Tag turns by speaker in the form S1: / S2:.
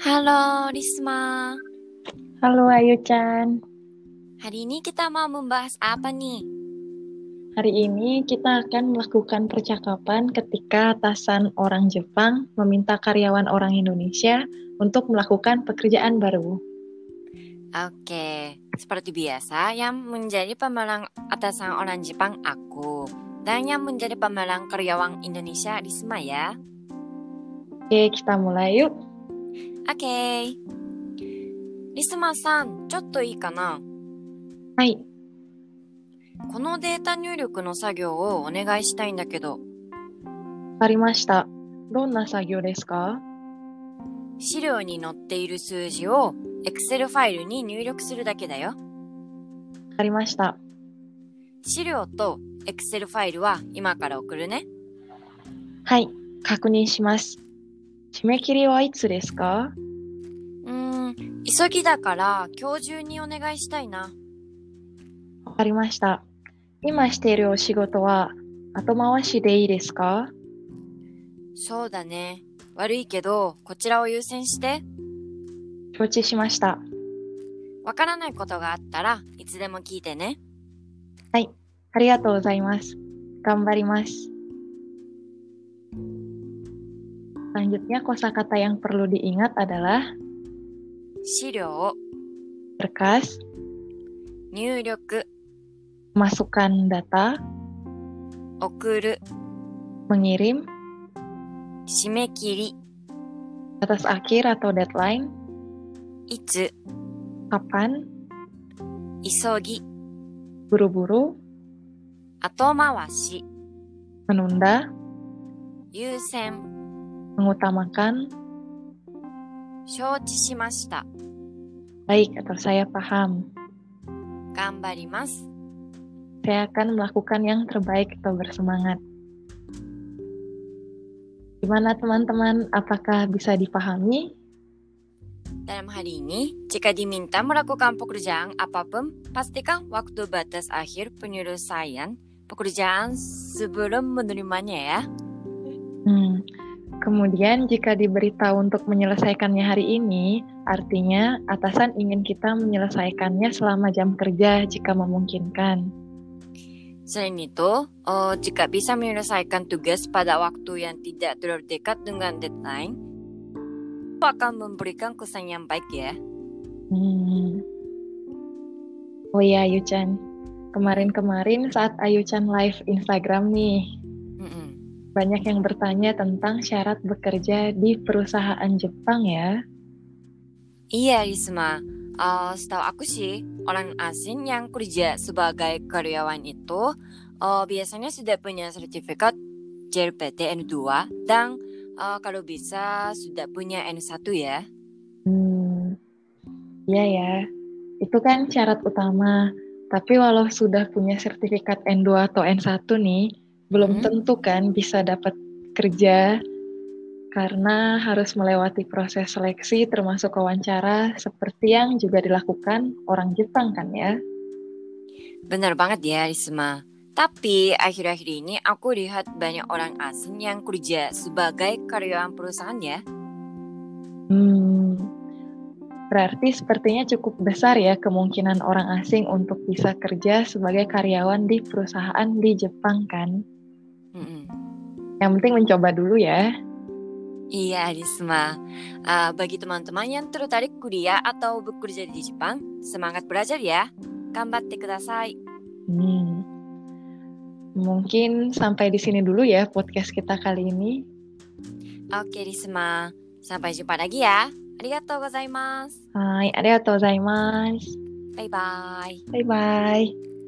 S1: Halo, Risma.
S2: Halo Ayu Chan.
S1: Hari ini kita mau membahas apa nih?
S2: Hari ini kita akan melakukan percakapan ketika atasan orang Jepang meminta karyawan orang Indonesia untuk melakukan pekerjaan baru.
S1: Oke, seperti biasa, yang menjadi pemelang atasan orang Jepang aku dan yang menjadi pemelang karyawan Indonesia Risma ya.
S2: Oke, kita mulai yuk.
S1: Oke. Rismaさん、ちょっといいかな
S2: はい、
S1: このデータ入力の作業をお願いしたいんだけど、
S2: わかりました。どんな作業ですか
S1: 資料に載っている数字を Excel ファイルに入力するだけだよ。
S2: わかりました。
S1: 資料と Excel ファイルは今から送るね。
S2: はい、確認します。締め切りはいつですか
S1: うーん、急ぎだから今日中にお願いしたいな。
S2: わかりました。今しているお仕事は後回しでいいですか
S1: そうだね。悪いけど、こちらを優先して。
S2: 承知しました。
S1: わからないことがあったらいつでも聞いてね。
S2: ありがとうございます。頑張ります。Selanjutnya kosakata yang perlu diingat adalah
S1: 資料、
S2: berkas,
S1: 入力、
S2: masukkan data,
S1: 送る、
S2: mengirim,
S1: 締め切り、
S2: batas akhir atau deadline,
S1: いつ、
S2: kapan,
S1: 急ぎ、
S2: buru-buru,
S1: 後回し、
S2: menunda,
S1: 優先、
S2: mengutamakan,
S1: 承知しました。
S2: baik atau saya paham.
S1: 頑張ります。
S2: Saya akan melakukan yang terbaik atau bersemangat. Gimana teman-teman? Apakah bisa dipahami?
S1: Dalam hari ini, jika diminta melakukan pekerjaan apapun, pastikan waktu batas akhir penyelesaian pekerjaan sebelum menerimanya ya.
S2: Hmm. Kemudian jika diberitahu untuk menyelesaikannya hari ini, artinya atasan ingin kita menyelesaikannya selama jam kerja jika memungkinkan.
S1: Selain itu, eh, jika bisa menyelesaikan tugas pada waktu yang tidak terlalu dekat dengan deadline, itu akan memberikan kesan yang baik ya.
S2: Hmm. Oh iya Ayu-chan, kemarin-kemarin saat Ayu-chan live Instagram nih,
S1: Mm-mm.
S2: banyak yang bertanya tentang syarat bekerja di perusahaan Jepang ya.
S1: Iya, Risma. Eh, setahu aku sih, orang asing yang kerja sebagai karyawan itu eh, biasanya sudah punya sertifikat JLPT N2 dan eh, kalau bisa sudah punya N1 ya.
S2: Hmm, iya ya, itu kan syarat utama. Tapi walau sudah punya sertifikat N2 atau N1 nih,
S1: Hmm.
S2: belum tentu kan bisa dapat kerja karena harus melewati proses seleksi termasuk wawancara seperti yang juga dilakukan orang Jepang kan ya.
S1: Benar banget ya, Risma. Tapi akhir-akhir ini aku lihat banyak orang asing yang kerja sebagai karyawan perusahaan ya.
S2: Hmm, berarti sepertinya cukup besar ya kemungkinan orang asing untuk bisa kerja sebagai karyawan di perusahaan di Jepang kan.
S1: Mm-mm.
S2: Yang penting mencoba dulu ya.
S1: Iya, Risma. Ah, bagi teman-teman yang tertarik kuliah atau bekerja di Jepang, semangat belajar ya. Gambatte kudasai.
S2: Hmm. Mungkin sampai di sini dulu ya podcast kita kali ini.
S1: Oke, Risma. Sampai jumpa lagi ya. Arigatou gozaimasu.
S2: Hai, ada atau Zaimas.
S1: Bye-bye.
S2: Bye bye.